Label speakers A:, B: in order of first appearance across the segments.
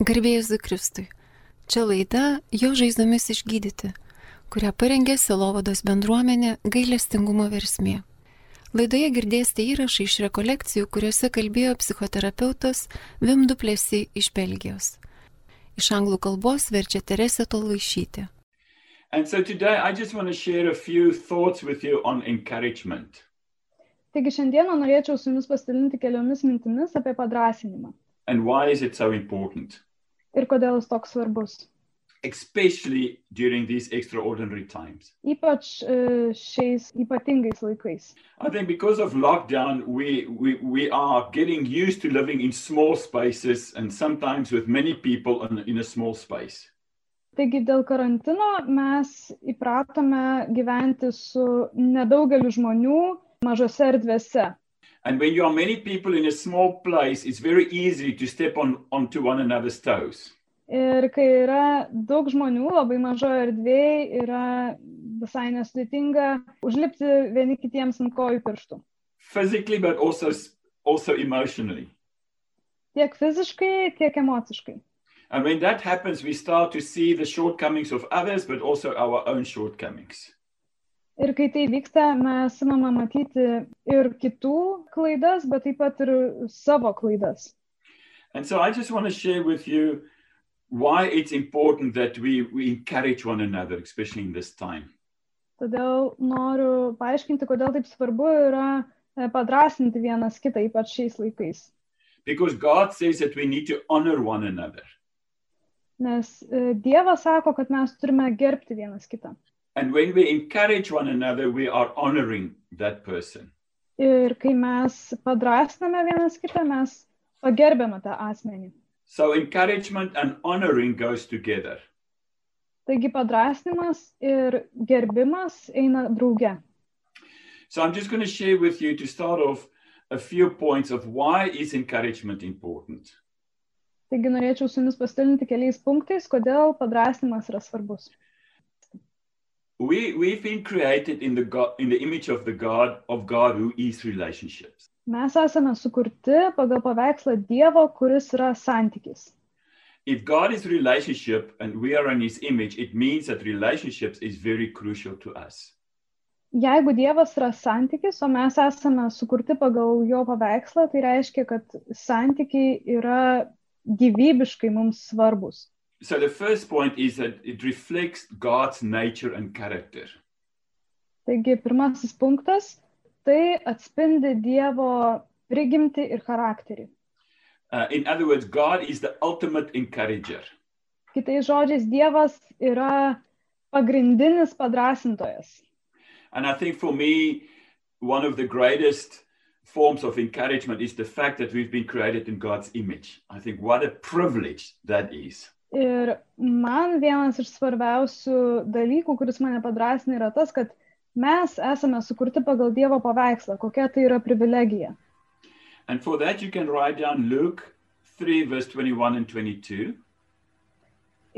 A: Garbėjus Zikristui. Čia laida Jo žaizdomis išgydyti, kurią parengė Silovados bendruomenė gailestingumo versmė. Laidoje girdėsite įrašą iš rekolekcijų, kuriuose kalbėjo psichoterapeutas Vim Duplėsi iš Belgijos. Iš anglų kalbos verčia Teresė Tolvaišytė.
B: And so today I just want to share a few thoughts with you on encouragement.
C: Taigi šiandieną norėčiau su jumis pasidalinti keliomis mintimis apie padrasinimą
B: and why is it so important,
C: ir kodėl jis toks svarbus.
B: especially during these extraordinary times.
C: Ypač e, šiais ypatingais laikais.
B: I think because of lockdown, we, we, we are getting used to living in small spaces and sometimes with many people in, in a small space.
C: Taigi dėl karantino mes įpratome gyventi su nedaugeliu žmonių mažose erdvėse.
B: And when you are many people in a small place, it's very easy to step on onto one another's toes.
C: Ir kai yra daug žmonių, labai mažoje erdvėje, yra visai nesudėtinga užlipti vieni kitiems ant kojų pirštų.
B: physically but also s- also emotionally
C: Tiek fiziškai, tiek emociškai.
B: and when that happens we start to see the shortcomings of others but also our own shortcomings
C: Ir kai tai vyksta, mes imame matyti ir kitų klaidas, bet taip pat ir savo klaidas.
B: and so i just want to share with you why it's important that we, we encourage one another especially in this time
C: Todėl noriu paaiškinti, kodėl taip svarbu yra e, padrasinti vienas kitą, ypač šiais laikais.
B: because god says that we need to honor one another
C: Nes e, Dievas sako, kad mes turime gerbti vienas kitą.
B: and when we encourage one another we are honoring that person
C: Ir kai mes padrasname vienas kitą, mes pagerbėme tą asmenį.
B: so encouragement and honoring goes together
C: Taigi padrasnimas ir gerbimas eina drauge.
B: So I'm just going to share with you to start off a few points of why is encouragement important.
C: Taigi norėčiau su jumis pasidalinti keliais punktais, kodėl padrasnimas yra svarbus.
B: We we've been created in the God, in the image of the God of God who is relationships.
C: Mes esame sukurti pagal paveikslą Dievo, kuris yra santykis.
B: If God is relationship and we are in his image, it means that relationships is very crucial to us.
C: Jeigu Dievas yra santykis, o mes esame sukurti pagal jo paveikslą, tai reiškia, kad santykiai yra gyvybiškai mums svarbus.
B: So the first point is that it reflects God's nature and character.
C: Taigi pirmasis punktas - tai atspindi Dievo prigimti ir charakterį.
B: Uh, in other words, God is the ultimate encourager.
C: Kitais žodžiais, Dievas yra pagrindinis padrasintojas.
B: And I think for me, one of the greatest forms of encouragement is the fact that we've been created in God's image. I think what a privilege that is.
C: Ir man vienas iš svarbiausių dalykų, kuris mane padrasina, yra tas, kad mes esame sukurti pagal Dievo paveikslą. Kokia tai yra privilegija.
B: And for that, you can write down Luke 3, verse 21 and 22.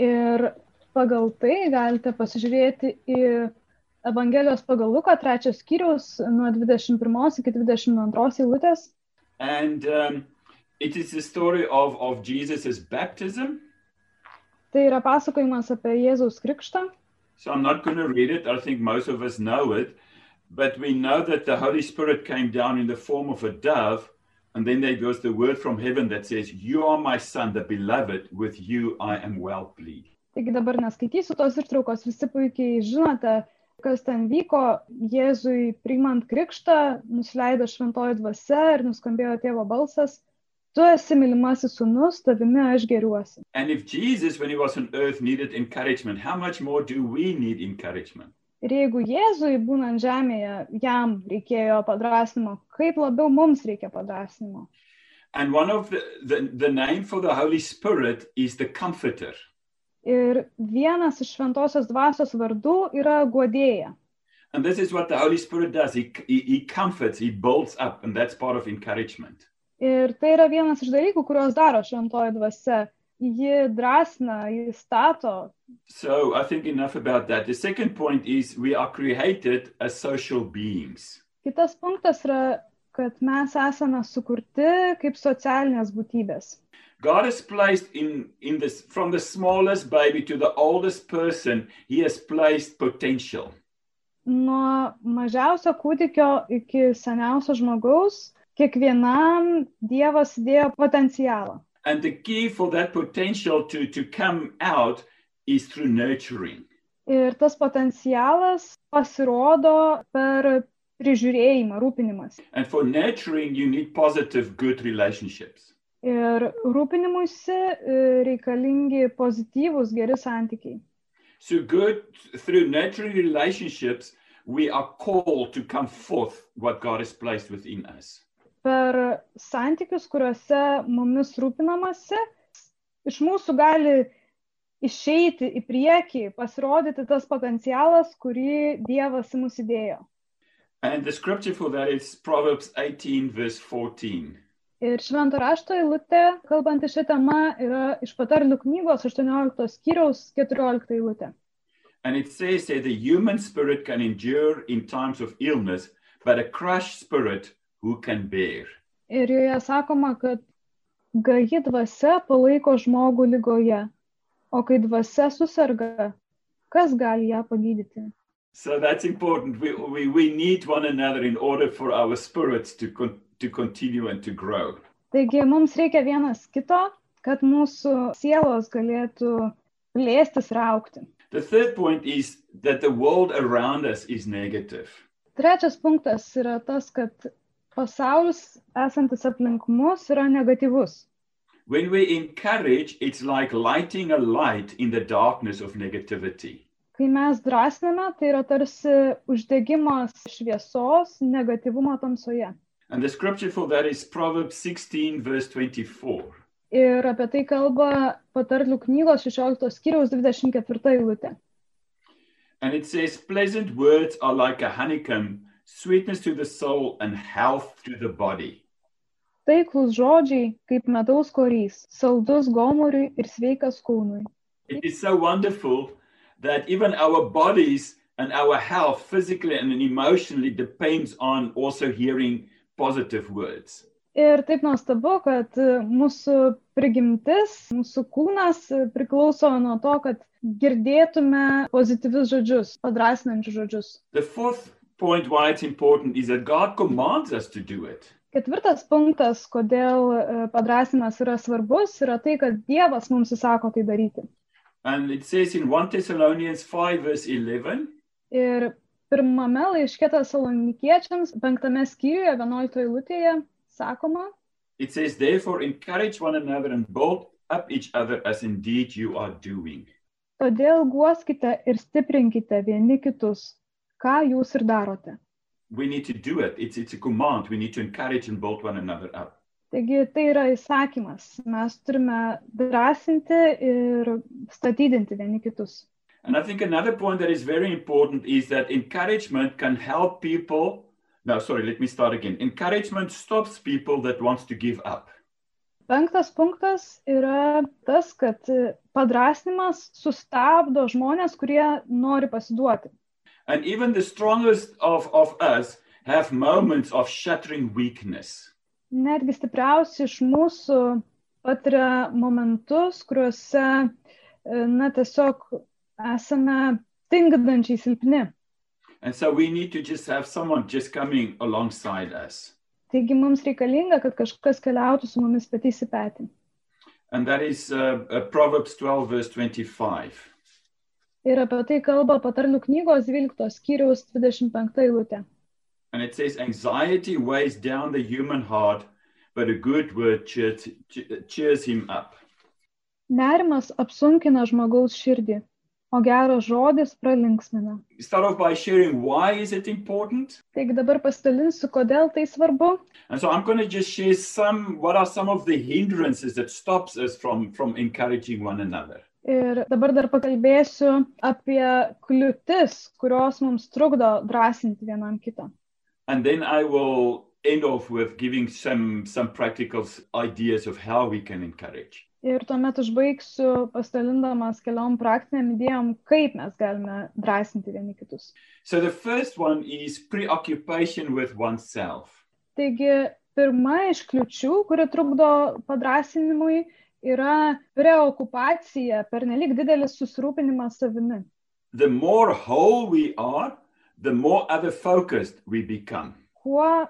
C: Ir pagal tai galite pasižiūrėti į Evangelijos pagal Luką, trečios skyrius, nuo 21 iki 22 eilutės.
B: And um, it is the story of, of Jesus' baptism.
C: Tai yra pasakojimas apie Jėzaus krikštą.
B: So I'm not going to read it. I think most of us know it. But we know that the Holy Spirit came down in the form of a dove. And then there goes the word from heaven that says, You are my son, the beloved. With you I am well pleased.
C: Taigi dabar neskaitysiu tos ištraukos, visi puikiai žinote, kas ten vyko. Jėzui priimant krikštą, nusileido šventoji dvasia ir nuskambėjo tėvo balsas, tu esi mylimasis sunus, tavimi aš geriuosi.
B: And if Jesus, when he was on earth, needed encouragement, how much more do we need encouragement?
C: Ir jeigu Jėzui būnant žemėje, jam reikėjo padrasnimo, kaip labiau mums reikia padrasnimo.
B: And one of the, the, the name for the Holy Spirit is the comforter.
C: Ir vienas iš šventosios dvasios vardų yra godėja.
B: And this is what the Holy Spirit does. He, he, he comforts, he builds up, and that's part of encouragement.
C: Ir tai yra vienas iš dalykų, kuriuos daro šventoji dvasia. Ji drąsina, ji stato,
B: So I think enough about that. The second point is we are created as social beings.
C: Kitas punktas yra, kad mes esame sukurti kaip socialinės būtybės.
B: God has placed in, in this, from the smallest baby to the oldest person, He has placed potential.
C: Nuo mažiausio kūdikio iki seniausio žmogaus, kiekvienam Dievas dėjo potencialą.
B: And the key for that potential to, to come out is through nurturing.
C: Ir tas potencialas pasirodo per prižiūrėjimą, rūpinimas.
B: And for nurturing, you need positive, good relationships.
C: Ir rūpinimuisi e, reikalingi pozityvūs, geri santykiai.
B: So, good through nurturing relationships, we are called to come forth what God has placed within us.
C: Per santykius, kuriuose mumis rūpinamasi, iš mūsų gali išeiti į priekį, pasirodyti tas potencialas, kurį Dievas į mus įdėjo.
B: And the scripture for that is Proverbs 18, verse 14.
C: Ir švento rašto eilutė, kalbant į šią temą, yra iš patarlių knygos 18 skyriaus 14 eilutė.
B: And it says that the human spirit can endure in times of illness, but a crushed spirit who can bear?
C: Ir joje sakoma, kad gaji dvasia palaiko žmogų lygoje, o kai dvasia susirga, kas gali ją pagydyti?
B: So that's important. We, we, we need one another in order for our spirits to, con- to continue and to grow.
C: Taigi mums reikia vienas kito, kad mūsų sielos galėtų plėstis ir aukti.
B: The third point is that the world around us is negative.
C: Trečias punktas yra tas, kad pasaulis esantis aplink mus yra negatyvus.
B: When we encourage, it's like lighting a light in the darkness of negativity.
C: Kai mes drąsiname, tai yra tarsi uždegimas šviesos negatyvumo tamsoje.
B: And the scripture for that is Proverbs 16, verse 24.
C: Ir apie tai kalba patarlių knygos 16 skyriaus 24 eilutė.
B: And it says, Pleasant words are like a honeycomb, sweetness to the soul and health to the body.
C: Taiklus žodžiai kaip medaus korys, saldus gomuriui ir sveikas kūnui.
B: It is so wonderful that even our bodies and our health, physically and emotionally, depends on also hearing positive words.
C: Ir taip nuostabu, kad e, mūsų prigimtis, mūsų kūnas e, priklauso nuo to, kad girdėtume pozityvius žodžius, padrasinančius žodžius.
B: The fourth point why it's important is that God commands us to do it.
C: Ketvirtas punktas, kodėl e, padrasinimas yra svarbus, yra tai, kad Dievas mums įsako tai daryti.
B: And it says in 1 Thessalonians 5, verse 11,
C: Ir pirmame laiške salonikiečiams, penktame skyriuje, vienuoliktoje eilutėje, sakoma,
B: it says, Therefore, encourage one another and build up each other as indeed you are doing.
C: todėl guoskite ir stiprinkite vieni kitus, ką jūs ir darote.
B: We need to do it. It's, it's a command. We need to encourage and build one another up.
C: Taigi tai yra įsakymas. Mes turime drąsinti ir statydinti vieni kitus.
B: And I think another point that is very important is that encouragement can help people. No, sorry, let me start again. Encouragement stops people that wants to give up.
C: Penktas punktas yra tas, kad e, padrasnimas sustabdo žmonės, kurie nori pasiduoti.
B: And even the strongest of, of us have moments of shattering weakness.
C: Netgi stipriausi iš mūsų patiria momentus, kuriuose, e, na, tiesiog esame tingdančiai silpni.
B: And so we need to just have someone just coming alongside us.
C: Taigi mums reikalinga, kad kažkas keliautų su mumis petys į petį.
B: And that is uh, uh, Proverbs 12, verse 25.
C: Ir apie tai kalba patarlių knygos 12 skyriaus 25 eilutė.
B: And it says, Anxiety weighs down the human heart, but a good word cheers, cheers him up.
C: Nerimas apsunkina žmogaus širdį, o geras žodis pralinksmina.
B: Start off by sharing why is it important.
C: Taigi dabar pasidalinsiu, kodėl tai svarbu.
B: And so I'm going to just share some what are some of the hindrances that stops us from from encouraging one another.
C: Ir dabar dar pakalbėsiu apie kliūtis, kurios mums trukdo drąsinti vienam kitą.
B: And then I will end off with giving some some practical s- ideas of how we can encourage.
C: Ir tuomet užbaigsiu pasidalindamas keliom praktiniam idėjom, kaip mes galime drąsinti vieni kitus.
B: So the first one is preoccupation with oneself.
C: Taigi, pirma iš kliučių, kuri trukdo padrasinimui, yra preokupacija, pernelik didelis susirūpinimas savimi.
B: The more whole we are, the more other focused we become.
C: Kuo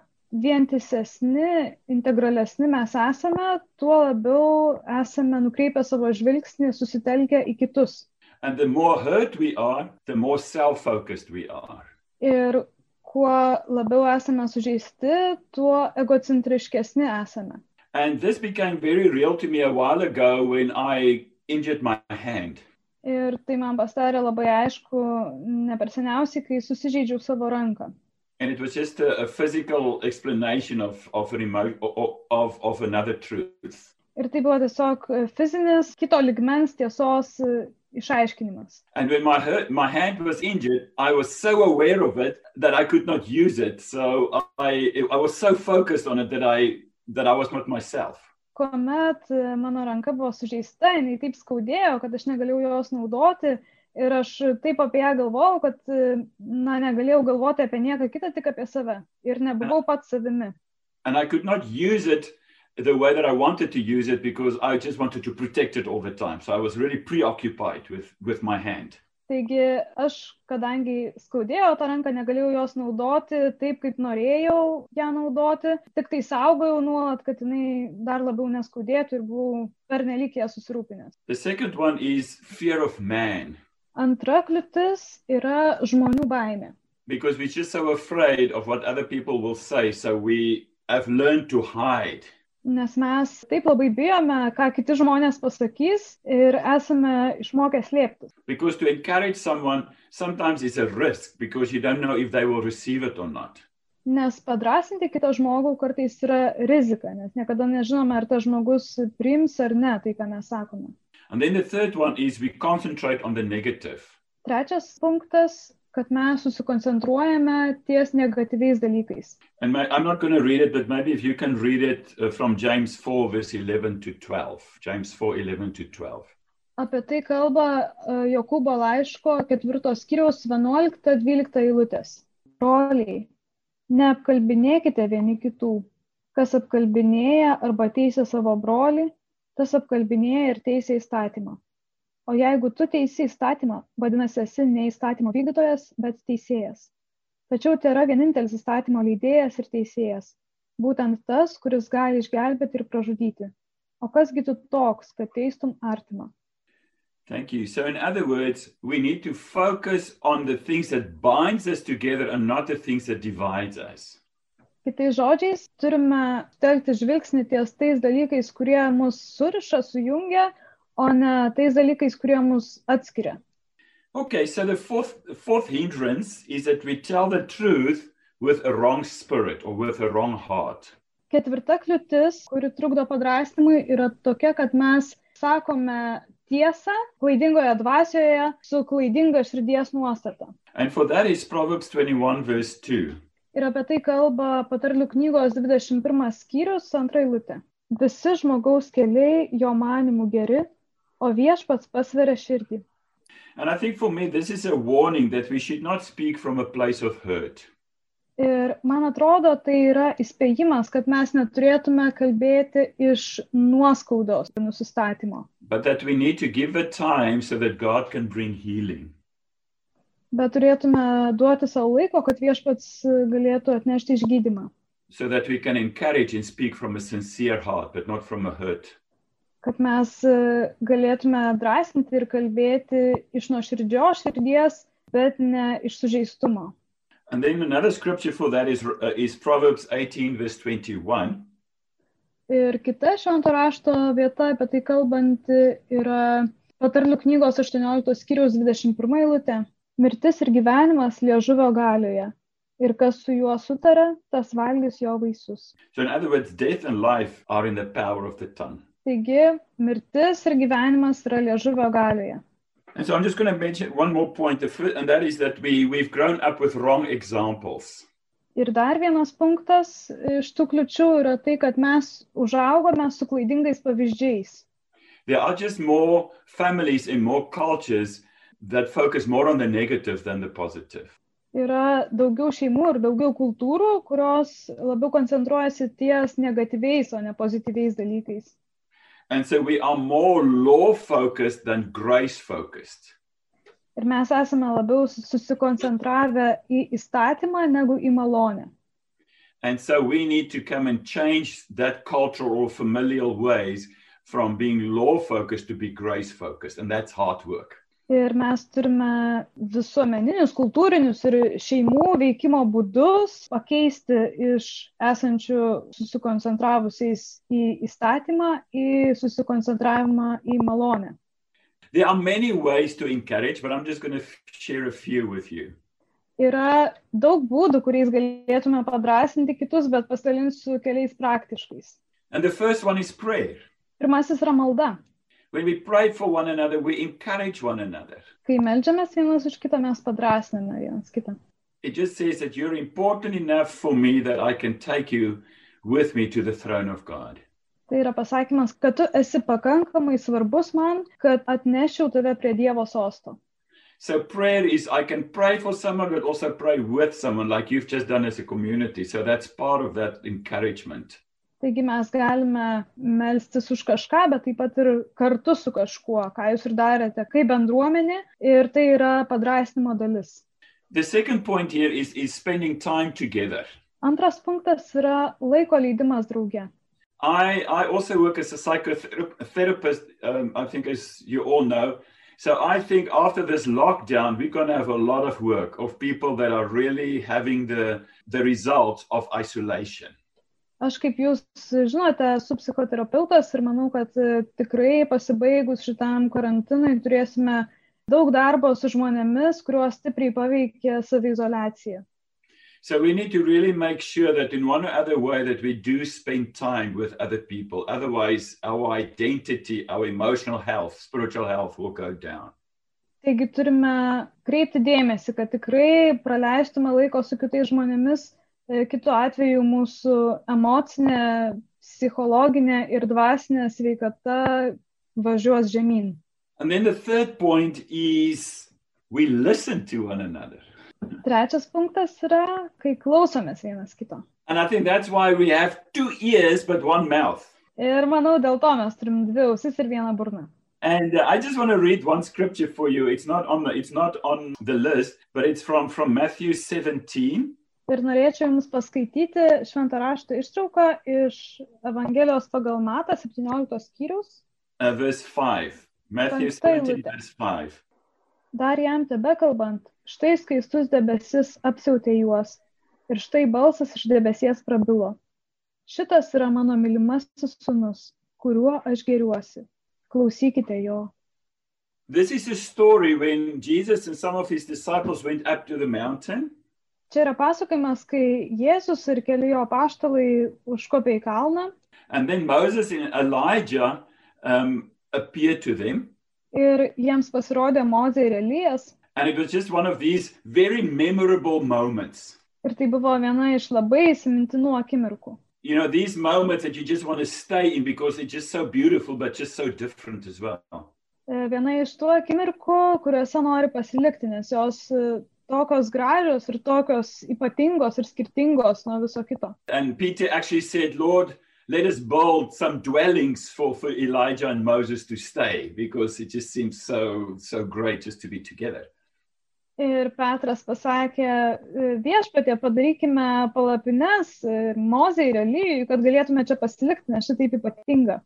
C: vientisesni, integralesni mes esame, tuo labiau esame nukreipę savo žvilgsnį, susitelkę į kitus.
B: And the more hurt we are, the more self focused we are.
C: Ir kuo labiau esame sužeisti, tuo egocentriškesni esame.
B: And this became very real to me a while ago when I injured my hand.
C: Ir tai man pastarė labai aišku, ne per seniausiai, kai susižeidžiau savo ranką.
B: And it was just a, a physical explanation of, of, an emo- o- o- of, of another truth.
C: Ir tai buvo tiesiog e, fizinis kito ligmens tiesos e, išaiškinimas.
B: And when my, hurt, my hand was injured, I was so aware of it that I could not use it. So I, I was so focused on it that I, that I was not myself.
C: Kuomet e, mano ranka buvo sužeista, jinai taip skaudėjo, kad aš negalėjau jos naudoti ir aš taip apie ją galvojau, kad, e, na, negalėjau galvoti apie nieką kitą, tik apie save. Ir nebuvau pats savimi.
B: And I could not use it the way that I wanted to use it because I just wanted to protect it all the time. So I was really preoccupied with, with my hand.
C: Taigi aš, kadangi skaudėjo tą ranką, negalėjau jos naudoti taip, kaip norėjau ją naudoti, tik tai saugojau nuolat, kad jinai dar labiau neskaudėtų ir buvau pernelik ją susirūpinęs.
B: The second one is fear of man
C: Antra kliūtis yra žmonių baimė.
B: because we're just so afraid of what other people will say. So we have learned to hide.
C: Nes mes taip labai bijome, ką kiti žmonės pasakys ir esame išmokę slėptis.
B: Because to encourage someone sometimes is a risk because you don't know if they will receive it or not.
C: Nes padrasinti kitą žmogų kartais yra rizika, nes niekada nežinome, ar tas žmogus priims ar ne tai, ką mes sakome.
B: And then the third one is we concentrate on the negative.
C: Trečias punktas, kad mes susikoncentruojame ties negatyviais dalykais.
B: And ma- I'm not going to read it, but maybe if you can read it uh, from James 4, verse 11 to 12. James 4, 11 to 12.
C: Apie tai kalba e, Jokūbo laiško ketvirtos kiriaus 11-12 eilutės. Broliai, neapkalbinėkite vieni kitų. Kas apkalbinėja arba teisė savo brolį, tas apkalbinėja ir teisė įstatymą. O jeigu tu teisi įstatymą, vadinasi, esi ne įstatymo vykdytojas, bet teisėjas. Tačiau tai yra vienintelis įstatymo leidėjas ir teisėjas. Būtent tas, kuris gali išgelbėti ir pražudyti. O kasgi tu toks, kad teistum artimą?
B: Thank you. So, in other words, we need to focus on the things that binds us together and not the things that divides us.
C: Kitais žodžiais, turime telkti žvilgsnį ties tais dalykais, kurie mus suriša, sujungia, o ne tais dalykais, kurie mus atskiria.
B: Okay, so the fourth fourth hindrance is that we tell the truth with a wrong spirit or with a wrong heart.
C: Ketvirta kliūtis, kuri trukdo padrastimui, yra tokia, kad mes sakome tiesą klaidingoje dvasioje su klaidinga širdies nuostata.
B: And for that is Proverbs 21 verse 2.
C: Ir apie tai kalba patarlių knygos 21 skyrius, antra eilutė. Visi žmogaus keliai jo manimų geri, o viešpats pasveria širdį.
B: And I think for me this is a warning that we should not speak from a place of hurt.
C: Ir man atrodo, tai yra įspėjimas, kad mes neturėtume kalbėti iš nuoskaudos ir nusistatymo,
B: But that we need to give it time so that God can bring healing.
C: bet turėtume duoti savo laiko, kad viešpats galėtų atnešti išgydymą,
B: So that we can encourage and speak from a sincere heart, but not from a hurt.
C: kad mes e, galėtume drąsinti ir kalbėti iš nuoširdžio širdies, bet ne iš sužeistumo.
B: And then another scripture for that is, uh, is Proverbs 18, verse 21.
C: Ir kita švento rašto vieta apie tai kalbanti yra patarlių knygos 18 skyriaus 21 eilutė. Mirtis ir gyvenimas liežuvio galioje. Ir kas su juo sutara, tas valgys jo vaisius.
B: So, in other words, death and life are in the power of the tongue.
C: Taigi, mirtis ir gyvenimas yra liežuvio galioje.
B: And so, I'm just going to mention one more point, the fir- and that is that we, we've grown up with wrong examples.
C: Ir dar vienas punktas iš tų kliučių yra tai, kad mes užaugome su klaidingais pavyzdžiais.
B: There are just more families and more cultures that focus more on the negative than the positive.
C: yra daugiau šeimų ir daugiau kultūrų, kurios labiau koncentruojasi ties negatyviais, o ne pozityviais dalykais.
B: And so we are more law focused than grace focused.
C: Ir mes esame labiau sus- susikoncentravę į įstatymą negu į malonę.
B: And so we need to come and change that cultural or familial ways from being law focused to be grace focused. And that's hard work.
C: Ir mes turime visuomeninius, kultūrinius ir šeimų veikimo būdus pakeisti iš esančių susikoncentravusiais į įstatymą į susikoncentravimą į malonę.
B: There are many ways to encourage, but I'm just going to share a few with you.
C: Yra daug būdų, kuriais galėtume padrasinti kitus, bet pasidalinsiu keliais praktiškais.
B: And the first one is prayer.
C: Pirmasis yra malda.
B: When we pray for one another, we encourage one another.
C: Kai melžiamės vienas už kitą, mes padrasiname vienas kitą.
B: It just says that you're important enough for me that I can take you with me to the throne of God.
C: Tai yra pasakymas, kad tu esi pakankamai svarbus man, kad atnešiau tave prie Dievo sosto.
B: So prayer is I can pray for someone, but also pray with someone, like you've just done as a community. So that's part of that encouragement.
C: Taigi mes galime melstis už kažką, bet taip pat ir kartu su kažkuo, ką jūs ir darėte, kaip bendruomenė. Ir tai yra padrasnimo dalis.
B: The second point here is, is spending time together.
C: Antras punktas yra laiko leidimas drauge.
B: I, I also work as a psychotherapist, um, I think, as you all know. So I think after this lockdown, we're going to have a lot of work of people that are really having the, the results of isolation.
C: Aš kaip jūs žinote, esu psichoterapeutas ir manau, kad e, tikrai pasibaigus šitam karantinui turėsime daug darbo su žmonėmis, kuriuos stipriai paveikė saviizolacija.
B: So we need to really make sure that in one or other way that we do spend time with other people. Otherwise, our identity, our emotional health, spiritual health will go down.
C: Taigi turime kreipti dėmesį, kad tikrai praleistume laiko su kitais žmonėmis, e, kitu atveju mūsų emocinė, psichologinė ir dvasinė sveikata važiuos žemyn.
B: And then the third point is we listen to one another.
C: Trečias punktas yra, kai klausomės vienas kito.
B: And I think that's why we have two ears but one mouth.
C: Ir manau, dėl to mes turim dvi ausis ir vieną burną.
B: And uh, I just want to read one scripture for you. It's not on the it's not on the list, but it's from from Matthew 17
C: Ir norėčiau Jums paskaityti šventą raštą ištrauką iš Evangelijos pagal Matą 17 skyrius.
B: uh, verse 5. Matthew
C: Thanks, stay
B: 17
C: with that.
B: verse 5.
C: Dar jam tebe kalbant, štai skaistus debesis apsiautė juos ir štai balsas iš debesies prabilo. Šitas yra mano mylimasis sunus, kuriuo aš geriuosi. Klausykite jo.
B: This is a story when Jesus and some of his disciples went up to the mountain.
C: Čia yra pasakojimas, kai Jėzus ir keli jo paštalai užkopė į kalną
B: And then Moses and Elijah um, appeared to them.
C: ir jiems pasirodė Mozė ir Elijas.
B: And it was just one of these very memorable moments.
C: Ir tai buvo viena iš labai įsimintinų akimirkų.
B: You know, these moments that you just want to stay in because they're just so beautiful, but just so different as well.
C: E, Viena iš tų akimirkų, kuriuose nori pasilikti, nes jos e, tokios gražios ir tokios ypatingos ir skirtingos nuo viso kito.
B: And Peter actually said, Lord, let us build some dwellings for, for Elijah and Moses to stay because it just seems so, so great just to be together.
C: Ir Petras pasakė, e, viešpatie padarykime palapines Mozai ir Elyjui, kad galėtume čia pasilikti, nes šitaip ypatinga.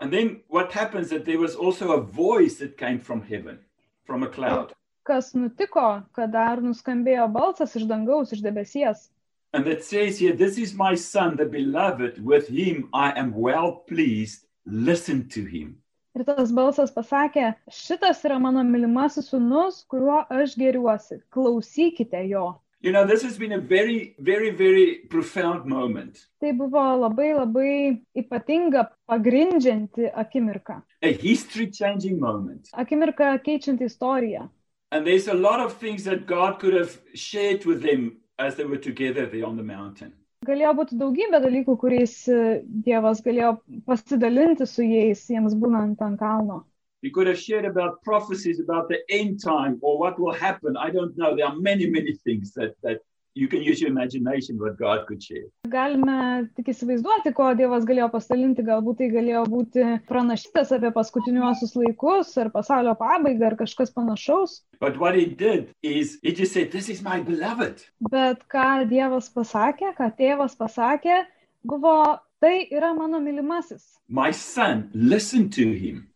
B: And then what happens that there was also a voice that came from heaven, from a cloud,
C: Kas nutiko, kad dar nuskambėjo balsas iš dangaus, iš debesies.
B: and that says here, "This is my son, the beloved. With him I am well pleased. Listen to him."
C: Ir tas balsas pasakė, šitas yra mano mylimasis sunus, kuriuo aš geriuosi, klausykite jo.
B: You know, this has been a very, very, very profound moment,
C: Tai buvo labai labai ypatinga pagrindžianti akimirka.
B: a history-changing moment.
C: Akimirka keičianti istoriją.
B: And there's a lot of things that God could have shared with them as they were together there on the mountain.
C: Galėjo būti daugybė dalykų, kuriais e, Dievas galėjo pasidalinti su jais, jiems būnant ant kalno.
B: He could have shared about prophecies about the end time or what will happen. I don't know. There are many, many things that, that You can use your imagination what God could share.
C: Galime tik įsivaizduoti, ko Dievas galėjo pasidalinti, galbūt tai galėjo būti pranašytas apie paskutiniuosius laikus ar pasaulio pabaigą ar kažkas panašaus,
B: But what he did is he just said, This is my beloved.
C: bet ką Dievas pasakė, ką tėvas pasakė, buvo, tai yra mano mylimasis,
B: My son, listen to him.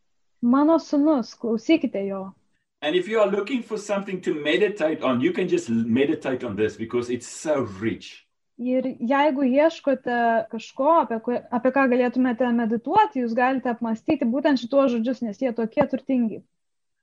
C: mano sunus, klausykite jo.
B: And if you are looking for something to meditate on, you can just meditate on this because it's so rich.
C: Ir jeigu ieškote kažko, apie, ku- apie ką galėtumėte medituoti, jūs galite apmastyti būtent šituos žodžius, nes jie tokie turtingi.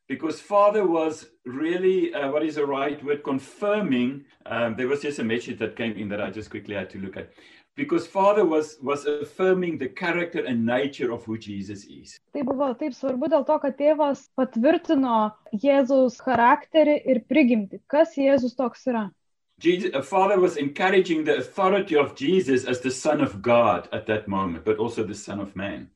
B: Because Father was really, uh, what is the right word, confirming. Um, there was just a message that came in that I just quickly had to look at. Because Father was, was affirming the character and nature of who Jesus is.
C: Tai buvo taip svarbu dėl to, kad tėvas patvirtino Jėzaus charakterį ir prigimti, kas Jėzus toks yra.
B: Jesus, uh, Father was encouraging the authority of Jesus as the Son of God at that moment, but also the Son of Man.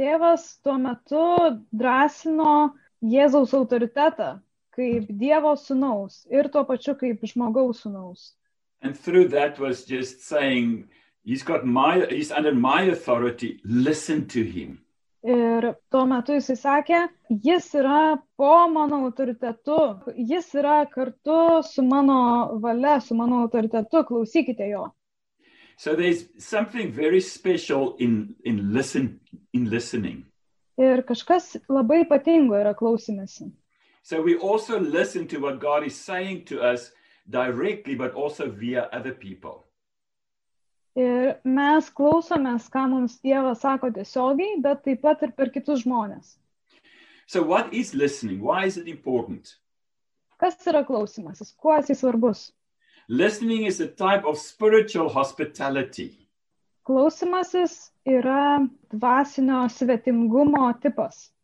C: Tėvas tuo metu drąsino Jėzaus autoritetą kaip Dievo sunaus ir tuo pačiu kaip žmogaus sunaus.
B: And through that was just saying, He's got my, he's under my authority. Listen to him.
C: Ir tuo metu jisai sakė, jis yra po mano autoritetu, jis yra kartu su mano valia, su mano autoritetu, klausykite jo.
B: So there's something very special in, in, listen, in listening.
C: Ir kažkas labai ypatingo yra klausimėsi.
B: So we also listen to what God is saying to us directly, but also via other people.
C: Ir mes klausomės, ką mums Dievas sako tiesiogiai, bet taip pat ir per kitus žmonės.
B: So, what is listening? Why is it important?
C: Kas yra klausimasis, kuo jisai svarbus?
B: Listening is a type of spiritual hospitality.
C: Klausimasis yra dvasinio svetingumo tipas.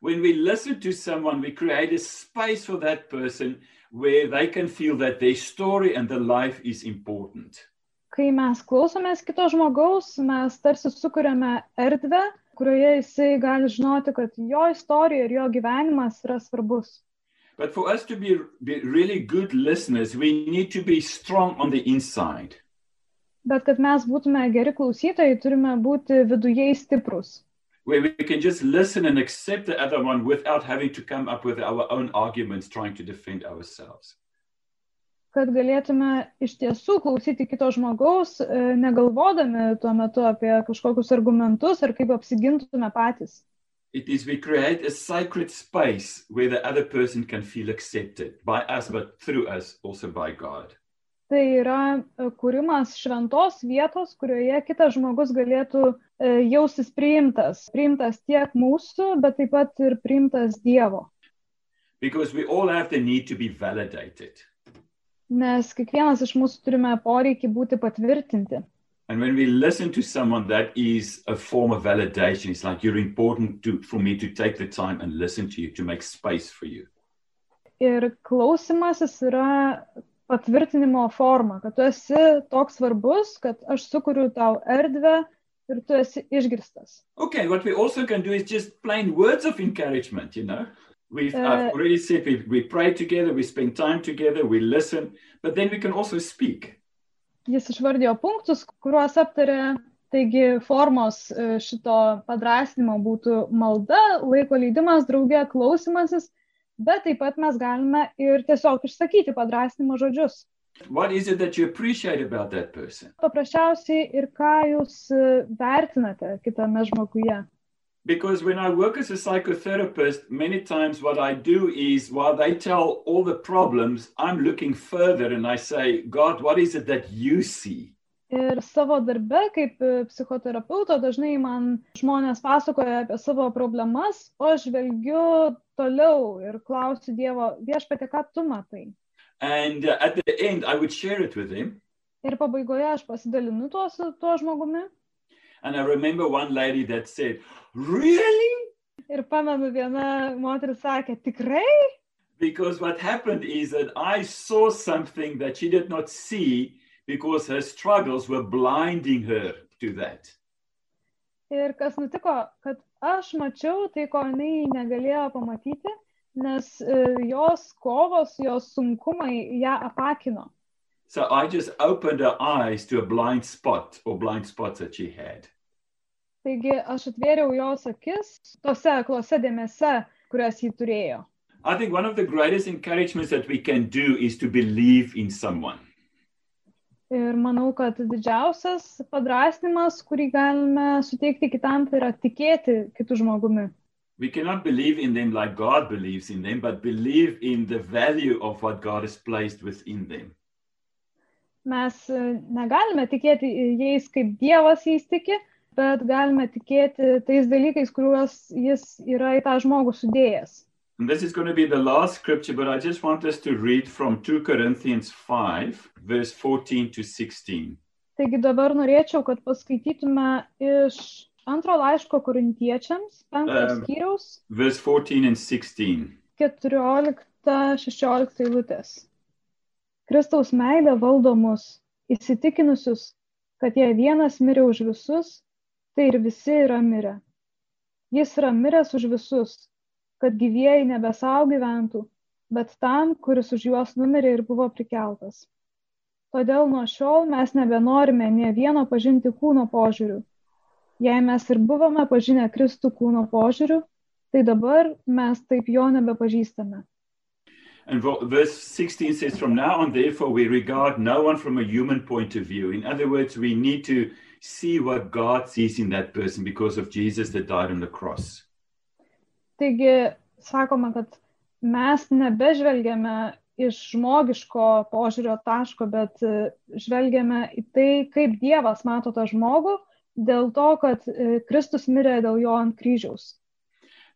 B: When we listen to someone, we create a space for that person where they can feel that their story and their life is important.
C: kai mes klausomės kito žmogaus, mes tarsi sukūrėme erdvę, kurioje jisai gali žinoti, kad jo istorija ir jo gyvenimas yra svarbus.
B: But for us to be, be really good listeners, we need to be strong on the inside.
C: Bet kad mes būtume geri klausytojai, turime būti viduje stiprus.
B: where we can just listen and accept the other one without having to come up with our own arguments trying to defend ourselves.
C: Kad galėtume iš tiesų klausyti kito žmogaus, e, negalvodami tuo metu apie kažkokius argumentus ar kaip apsigintume patys.
B: It is we create a sacred space where the other person can feel accepted by us, but through us, also by God.
C: Tai yra e, kūrimas šventos vietos, kurioje kitas žmogus galėtų e, jaustis priimtas. Priimtas tiek mūsų, bet taip pat ir priimtas Dievo.
B: Because we all have the need to be validated.
C: Nes kiekvienas iš mūsų turime poreikį būti patvirtinti.
B: And when we listen to someone, that is a form of validation. It's like you're important to, for me to take the time and listen to you, to make space for you.
C: Ir klausimasis yra patvirtinimo forma, kad tu esi toks svarbus, kad aš sukuriu tau erdvę ir tu esi išgirstas.
B: Okay, what we also can do is just plain words of encouragement, you know. We've I've
C: Uh,
B: already said we, we pray together, we spend time together, we listen, but then we can also speak.
C: Jis išvardėjo punktus, kuriuos aptarė, taigi formos e, šito padrasnimo būtų malda, laiko leidimas, draugė, klausimasis, bet taip pat mes galime ir tiesiog išsakyti padrasnimo žodžius.
B: What is it that you appreciate about that person?
C: Paprasčiausiai ir ką jūs e, vertinate kitame žmoguje.
B: Because when I work as a psychotherapist, many times what I do is while they tell all the problems, I'm looking further and I say, God, what is it that you see?
C: Ir savo darbe kaip e, psichoterapeuto dažnai man žmonės pasakoja apie savo problemas, o aš žvelgiu toliau ir klausiu Dievo, viešpatie, ką tu matai.
B: And uh, at the end, I would share it with them.
C: Ir pabaigoje aš pasidalinu tuo su tuo žmogumi.
B: And I remember one lady that said, Really?
C: Ir pamenu, viena moteris sakė, tikrai,
B: Because what happened is that I saw something that she did not see because her struggles were blinding her to that.
C: Ir kas nutiko, kad aš mačiau tai, ko jinai negalėjo pamatyti, nes e, jos kovos, jos sunkumai ją apakino.
B: So I just opened her eyes to a blind spot or blind spots that she had.
C: Taigi aš atvėriau jos akis tose aklose dėmese, kurias ji turėjo.
B: I think one of the greatest encouragements that we can do is to believe in someone.
C: Ir manau, kad didžiausias padrasnimas, kurį galime suteikti kitam, tai yra tikėti kitų žmogumi.
B: We cannot believe in them like God believes in them, but believe in the value of what God has placed within them.
C: Mes e, negalime tikėti jais, kaip Dievas jais tiki, bet galime tikėti tais dalykais, kuriuos jis yra į tą žmogų sudėjęs.
B: And this is going to be the last scripture, but I just want us to read from 2 Corinthians 5, verse 14 to 16.
C: Taigi dabar norėčiau, kad paskaitytume iš antro laiško korintiečiams, penktos
B: Em.
C: skyriaus,
B: Verse 14 and 16.
C: 14-16 eilutės. Kristaus meilė valdo mus, įsitikinusius, kad jei vienas mirė už visus, tai ir visi yra mirę. Jis yra miręs už visus, kad gyvieji nebesau gyventų, bet tam, kuris už juos numirė ir buvo prikeltas. Todėl nuo šiol mes nebenorime ne vieno pažinti kūno požiūrių. Jei mes ir buvome pažinę Kristų kūno požiūrių, tai dabar mes taip jo nebepažįstame.
B: And vo- verse 16 says, From now on, therefore, we regard no one from a human point of view. In other words, we need to see what God sees in that person because of Jesus that died on the cross.
C: Taigi sakoma, kad mes nebežvelgiame iš žmogiško požiūrio taško, bet e, žvelgiame į tai, kaip Dievas mato tą žmogų, dėl to, kad e, Kristus mirė dėl jo ant kryžiaus.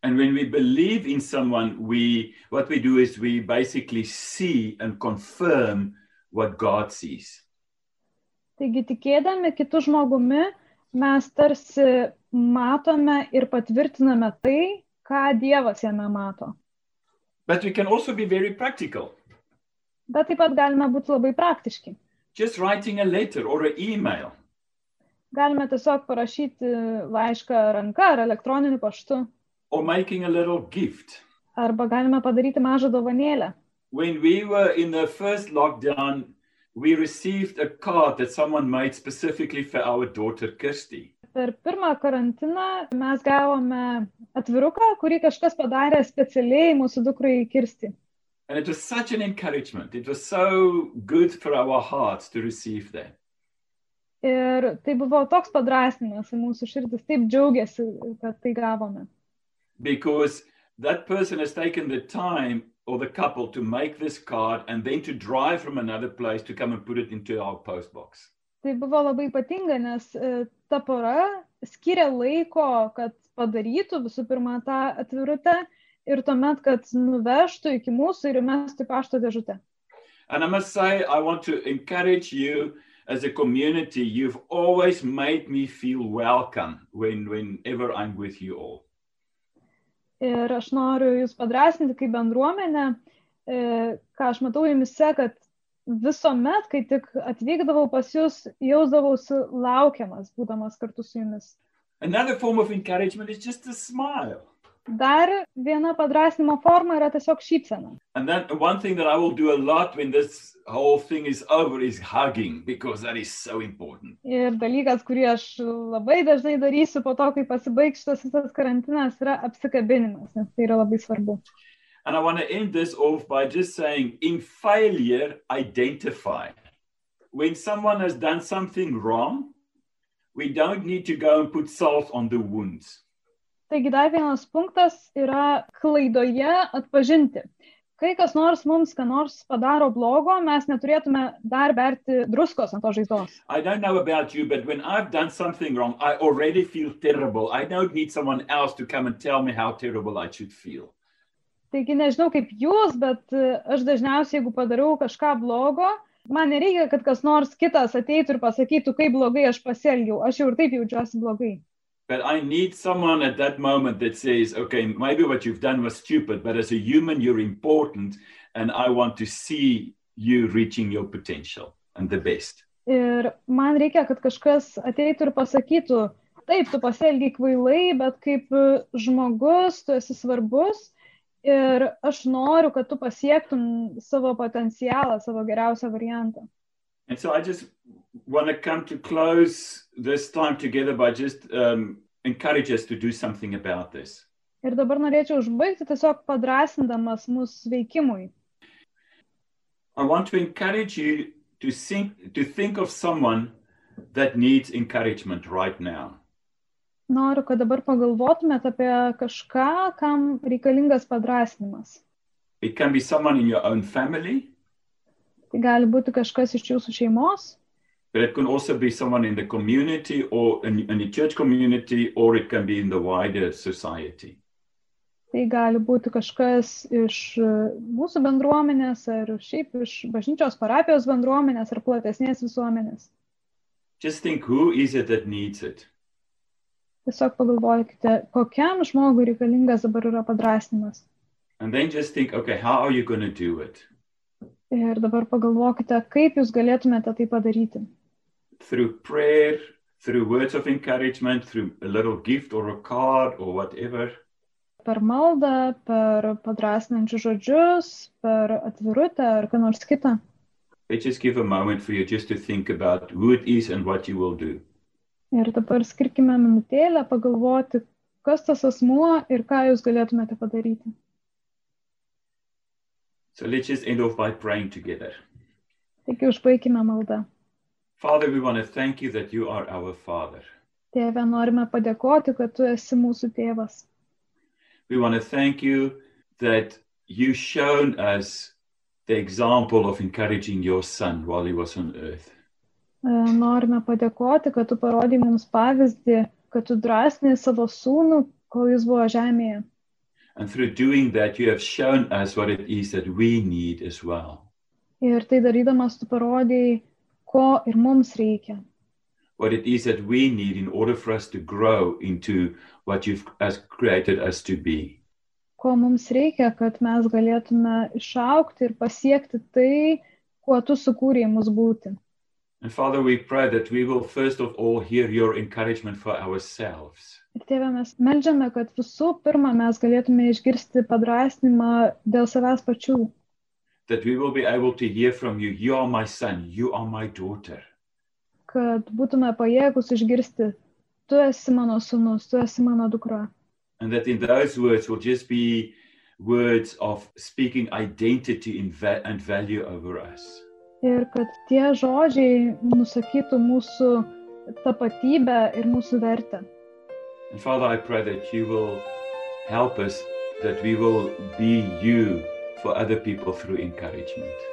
B: And when we believe in someone, we what we do is we basically see and confirm what God sees.
C: Taigi tikėdami kitų žmogumi, mes tarsi matome ir patvirtiname tai, ką Dievas jame mato.
B: But we can also be very practical.
C: Bet taip pat galime būti labai praktiški.
B: Just writing a letter or an email.
C: Galime tiesiog parašyti laišką ranka ar elektroniniu paštu,
B: or making a little gift.
C: arba galime padaryti mažą dovanėlę.
B: When we were in the first lockdown, we received a card that someone made specifically for our daughter Kirsty.
C: Per pirmą karantiną mes gavome atviruką, kurį kažkas padarė specialiai mūsų dukrai kirsti.
B: And it was such an encouragement. It was so good for our hearts to receive that.
C: Ir tai buvo toks padrasnimas, mūsų širdis taip džiaugiasi, kad tai gavome.
B: Because that person has taken the time or the couple to make this card and then to drive from another place to come and put it into our postbox.
C: Tai buvo labai ypatinga, nes e, ta pora skiria laiko, kad padarytų visų pirma tą atvirutę ir tuomet, kad nuvežtų iki mūsų ir mestų į pašto dėžutę.
B: And I must say, I want to encourage you as a community. You've always made me feel welcome when, whenever I'm with you all.
C: Ir aš noriu Jūs padrasinti kaip bendruomenę, e, ką aš matau Jumise, kad visuomet, kai tik atvykdavau pas Jūs, jausdavausi laukiamas, būdamas kartu su Jumis.
B: Another form of encouragement is just a smile.
C: Dar viena padrasinimo forma yra tiesiog šypsena.
B: And then one thing that I will do a lot when this whole thing is over is hugging because that is so important.
C: Ir dalykas, kurį aš labai dažnai darysiu po to, kai pasibaigs šitas visas karantinas, yra apsikabinimas, nes tai yra labai svarbu.
B: And I want to end this off by just saying in failure, identify. When someone has done something wrong, we don't need to go and put salt on the wounds.
C: Taigi dar vienas punktas yra klaidoje atpažinti. Kai kas nors mums, ką nors padaro blogo, mes neturėtume dar berti druskos ant to žaizdos.
B: I don't know about you, but when I've done something wrong, I already feel terrible. I don't need someone else to come and tell me how terrible I should feel.
C: Taigi nežinau kaip jūs, bet e, aš dažniausiai, jeigu padariau kažką blogo, man nereikia, kad kas nors kitas ateitų ir pasakytų, kaip blogai aš pasielgiau. Aš jau ir taip jaučiuosi blogai.
B: But I need someone at that moment that says, okay, maybe what you've done was stupid, but as a human, you're important, and I want to see you reaching your potential and the best.
C: Ir man reikia, kad kažkas ateitų ir pasakytų, taip, tu pasielgiai kvailai, bet kaip e, žmogus tu esi svarbus ir aš noriu, kad tu pasiektum savo potencialą, savo geriausią variantą.
B: And so I just want to come to close this time together by just um, encourage us to do something about this.
C: Ir dabar norėčiau užbaigti tiesiog padrasindamas mūsų veikimui.
B: I want to encourage you to think, to think of someone that needs encouragement right now.
C: Noriu, kad dabar pagalvotumėt apie kažką, kam reikalingas padrasinimas.
B: It can be someone in your own family,
C: Tai gali būti kažkas iš jūsų šeimos,
B: but it can also be someone in the community or in, in the church community, or it can be in the wider society.
C: tai gali būti kažkas iš e, mūsų bendruomenės ar šiaip iš bažnyčios parapijos bendruomenės ar platesnės visuomenės.
B: Just think who is it that needs it?
C: Tiesiog pagalvokite, kokiam žmogui reikalingas dabar yra padrasinimas.
B: And then just think, okay, how are you going to do it?
C: Ir dabar pagalvokite, kaip jūs galėtumėte tai padaryti.
B: Through prayer, through words of encouragement, through a little gift or a card or whatever.
C: Per maldą, per padrasinančius žodžius, per atvirutę ar ką nors kitą.
B: Let's just give a moment for you just to think about who it is and what you will do.
C: Ir dabar skirkime minutėlę pagalvoti, kas tas asmuo ir ką jūs galėtumėte padaryti.
B: So let's just end off by praying together.
C: Taigi užbaikime maldą.
B: Father, we want to thank you that you are our Father.
C: Tėve, norime padėkoti, kad tu esi mūsų tėvas.
B: We want to thank you that you've shown us the example of encouraging your Son while he was on earth.
C: E, Norime padėkoti, kad tu parodai mums pavyzdį, kad tu drąsinai savo sūnų, kol jis buvo žemėje.
B: And through doing that, you have shown us what it is that we need as well.
C: Ir tai darydamas tu parodai, ko ir mums reikia.
B: What it is that we need in order for us to grow into what you've has created us to be.
C: Ko mums reikia, kad mes galėtume išaukti ir pasiekti tai, kuo tu sukūrėjai mus būti.
B: And Father, we pray that we will first of all hear your encouragement for ourselves.
C: Ir tėve, mes melžiame, kad visų pirma mes galėtume išgirsti padrasnimą dėl savęs pačių.
B: that we will be able to hear from you. You are my son, you are my daughter.
C: kad būtume pajėgus išgirsti, tu esi mano sunus, tu esi mano dukra.
B: And that in those words will just be words of speaking identity in va- and value over us.
C: Ir kad tie žodžiai nusakytų mūsų tapatybę ir mūsų vertę.
B: And Father, I pray that you will help us, that we will be you for other people through encouragement.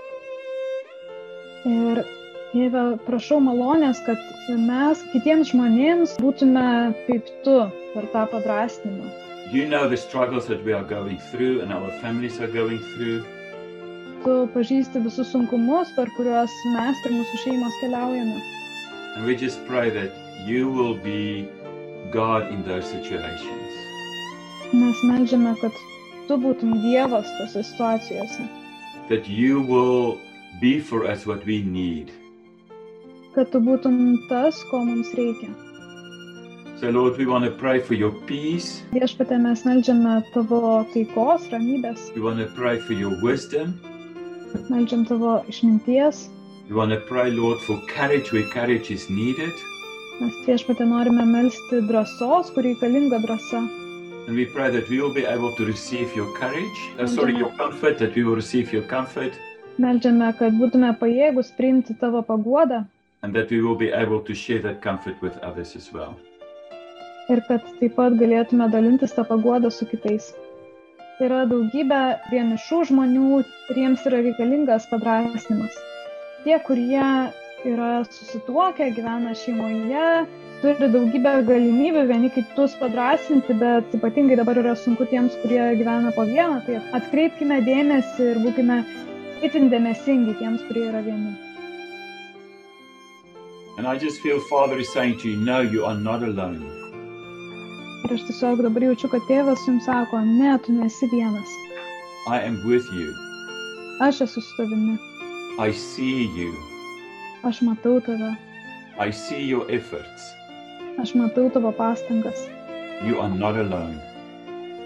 C: Ir Dieve, prašau malonės, kad mes kitiems žmonėms būtume kaip tu per tą padrastinimą.
B: You know the struggles that we are going through and our families are going through.
C: Tu pažįsti visus sunkumus, per kuriuos mes ir mūsų šeimos keliaujame.
B: And we just pray that you will be God in those situations.
C: Mes melžiame, kad tu būtum Dievas tose situacijose.
B: that you will be for us what we need.
C: Kad tu būtum tas, ko mums reikia.
B: So, Lord, we want to pray for your peace.
C: Viešpatė, mes melžiame tavo taikos, ramybės,
B: We want to pray for your wisdom.
C: melžiam tavo išminties,
B: We want to pray, Lord, for courage where courage is needed.
C: mes viešpatė norime melsti drąsos, kur reikalinga drąsa.
B: And we pray that we will be able to receive your courage, uh, sorry, your comfort, that we will receive your comfort,
C: Melžiame, kad būtume pajėgus priimti tavo paguodą
B: and that we will be able to share that comfort with others as well.
C: ir kad taip pat galėtume dalintis tą paguodą su kitais. Yra daugybė vienišų žmonių ir jiems yra reikalingas padrasnimas. Tie, kurie yra susituokę, gyvena šeimoje, turi daugybę galimybių vieni kitus padrasinti, bet ypatingai dabar yra sunku tiems, kurie gyvena po vieną, tai atkreipkime dėmesį ir būkime itin dėmesingi tiems, kurie yra vieni.
B: And I just feel Father is saying to you, no, you are not alone.
C: Ir aš tiesiog dabar jaučiu, kad tėvas jums sako, ne, tu nesi vienas,
B: I am with you.
C: aš esu su tavimi,
B: I see you.
C: aš matau tave,
B: I see your efforts.
C: aš matau tavo pastangas,
B: You are not alone.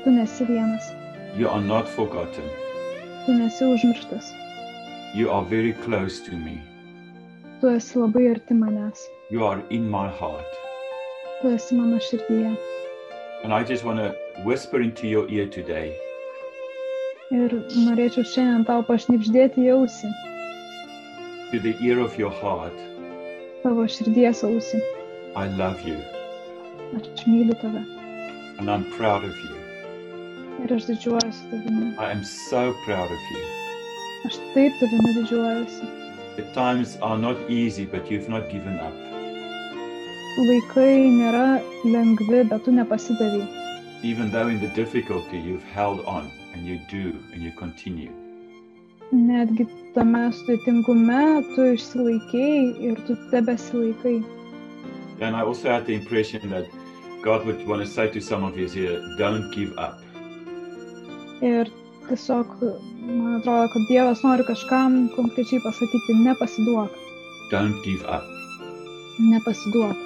C: tu nesi vienas,
B: You are not forgotten.
C: tu nesi užmirštas,
B: You are very close to me.
C: tu tu esi labai arti manęs,
B: You are in my heart.
C: tu esi mano širdyje.
B: And I just want to whisper into your ear today
C: Ir norėčiau šiandien tau pašnipždėti jausi,
B: to the ear of your heart,
C: tavo širdies ausi.
B: I love you
C: Aš myliu tave
B: and I'm proud of you.
C: ir aš didžiuojuosi tavimi.
B: I am so proud of you.
C: Aš taip tavimi didžiuojuosi.
B: The times are not easy, but you've not given up.
C: Laikai nėra lengvi, bet tu nepasidavai.
B: Even though in the difficulty, you've held on and you do and you continue.
C: Netgi tame sudėtingume tu išsilaikėjai ir tu tebesilaikai.
B: And I also had the impression that God would want to say to some of you here, don't give up.
C: Ir tiesiog, man atrodo, kad Dievas nori kažkam konkrečiai pasakyti, nepasiduok,
B: Don't give up.
C: nepasiduok.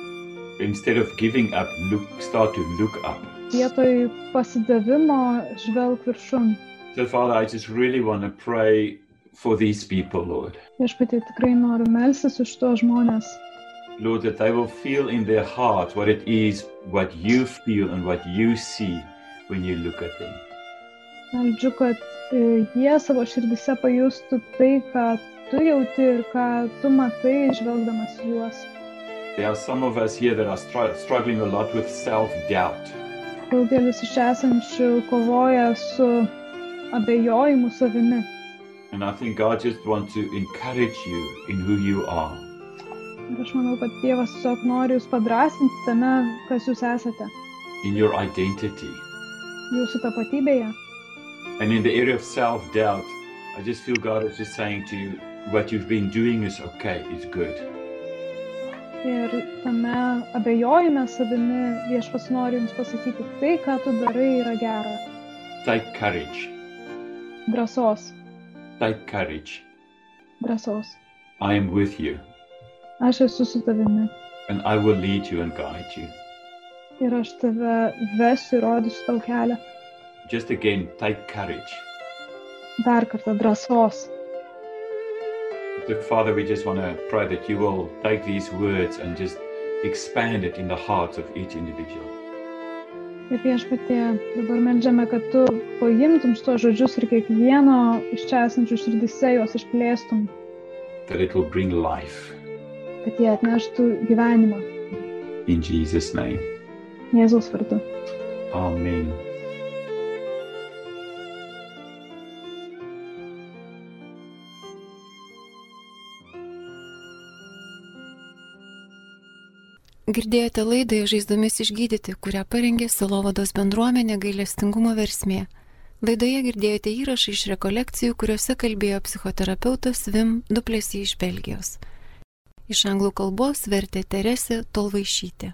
B: Instead of giving up, look start to look up.
C: Vietoj pasidavimo žvelg viršum.
B: So Father, I just really want to pray for these people, Lord.
C: Aš pati tikrai noriu melsis už tuos žmonės,
B: Lord, that they will feel in their heart what it is, what you feel and what you see when you look at them.
C: Meldžiu, kad e, jie savo širdise pajustų tai, ką tu jauti ir ką tu matai, žvelgdamas į juos.
B: There are some of us here that are str- struggling a lot with self doubt.
C: Daugelis iš esančių kovoja su abejojimu savimi.
B: And I think God just wants to encourage you in who you are.
C: Ir aš manau, kad Dievas tiesiog nori jūs padrasinti tame, kas jūs esate,
B: in your identity.
C: jūsų tapatybėje.
B: And in the area of self doubt, I just feel God is just saying to you, what you've been doing is okay, it's good.
C: Ir tame abejojime savimi viešpas nori jums pasakyti, tai, ką tu darai, yra gera.
B: Take courage.
C: Drąsos,
B: Take courage.
C: drąsos.
B: I am with you,
C: Aš esu su tavimi.
B: and I will lead you and guide you.
C: ir aš tave vesiu ir rodysiu tau kelią.
B: Just again, take courage.
C: Dar kartą drąsos.
B: So, Father, we just want to pray that you will take these words and just expand it in the hearts of each individual.
C: Ir viešpatie, dabar melžiame, kad tu paimtum šitos žodžius ir kiekvieno iš čia esančių širdise juos išplėstum,
B: That it will bring life
C: kad jie atneštų gyvenimą.
B: in Jesus' name.
C: Jėzaus vardu.
B: Amen.
A: Girdėjote laidą Žaizdomis išgydyti, kurią parengė Silovados bendruomenė gailestingumo versmė. Laidoje girdėjote įrašą iš rekolekcijų, kuriuose kalbėjo psichoterapeutas Vim Duplėsi iš Belgijos. Iš anglų kalbos vertė Teresė Tolvaišytė.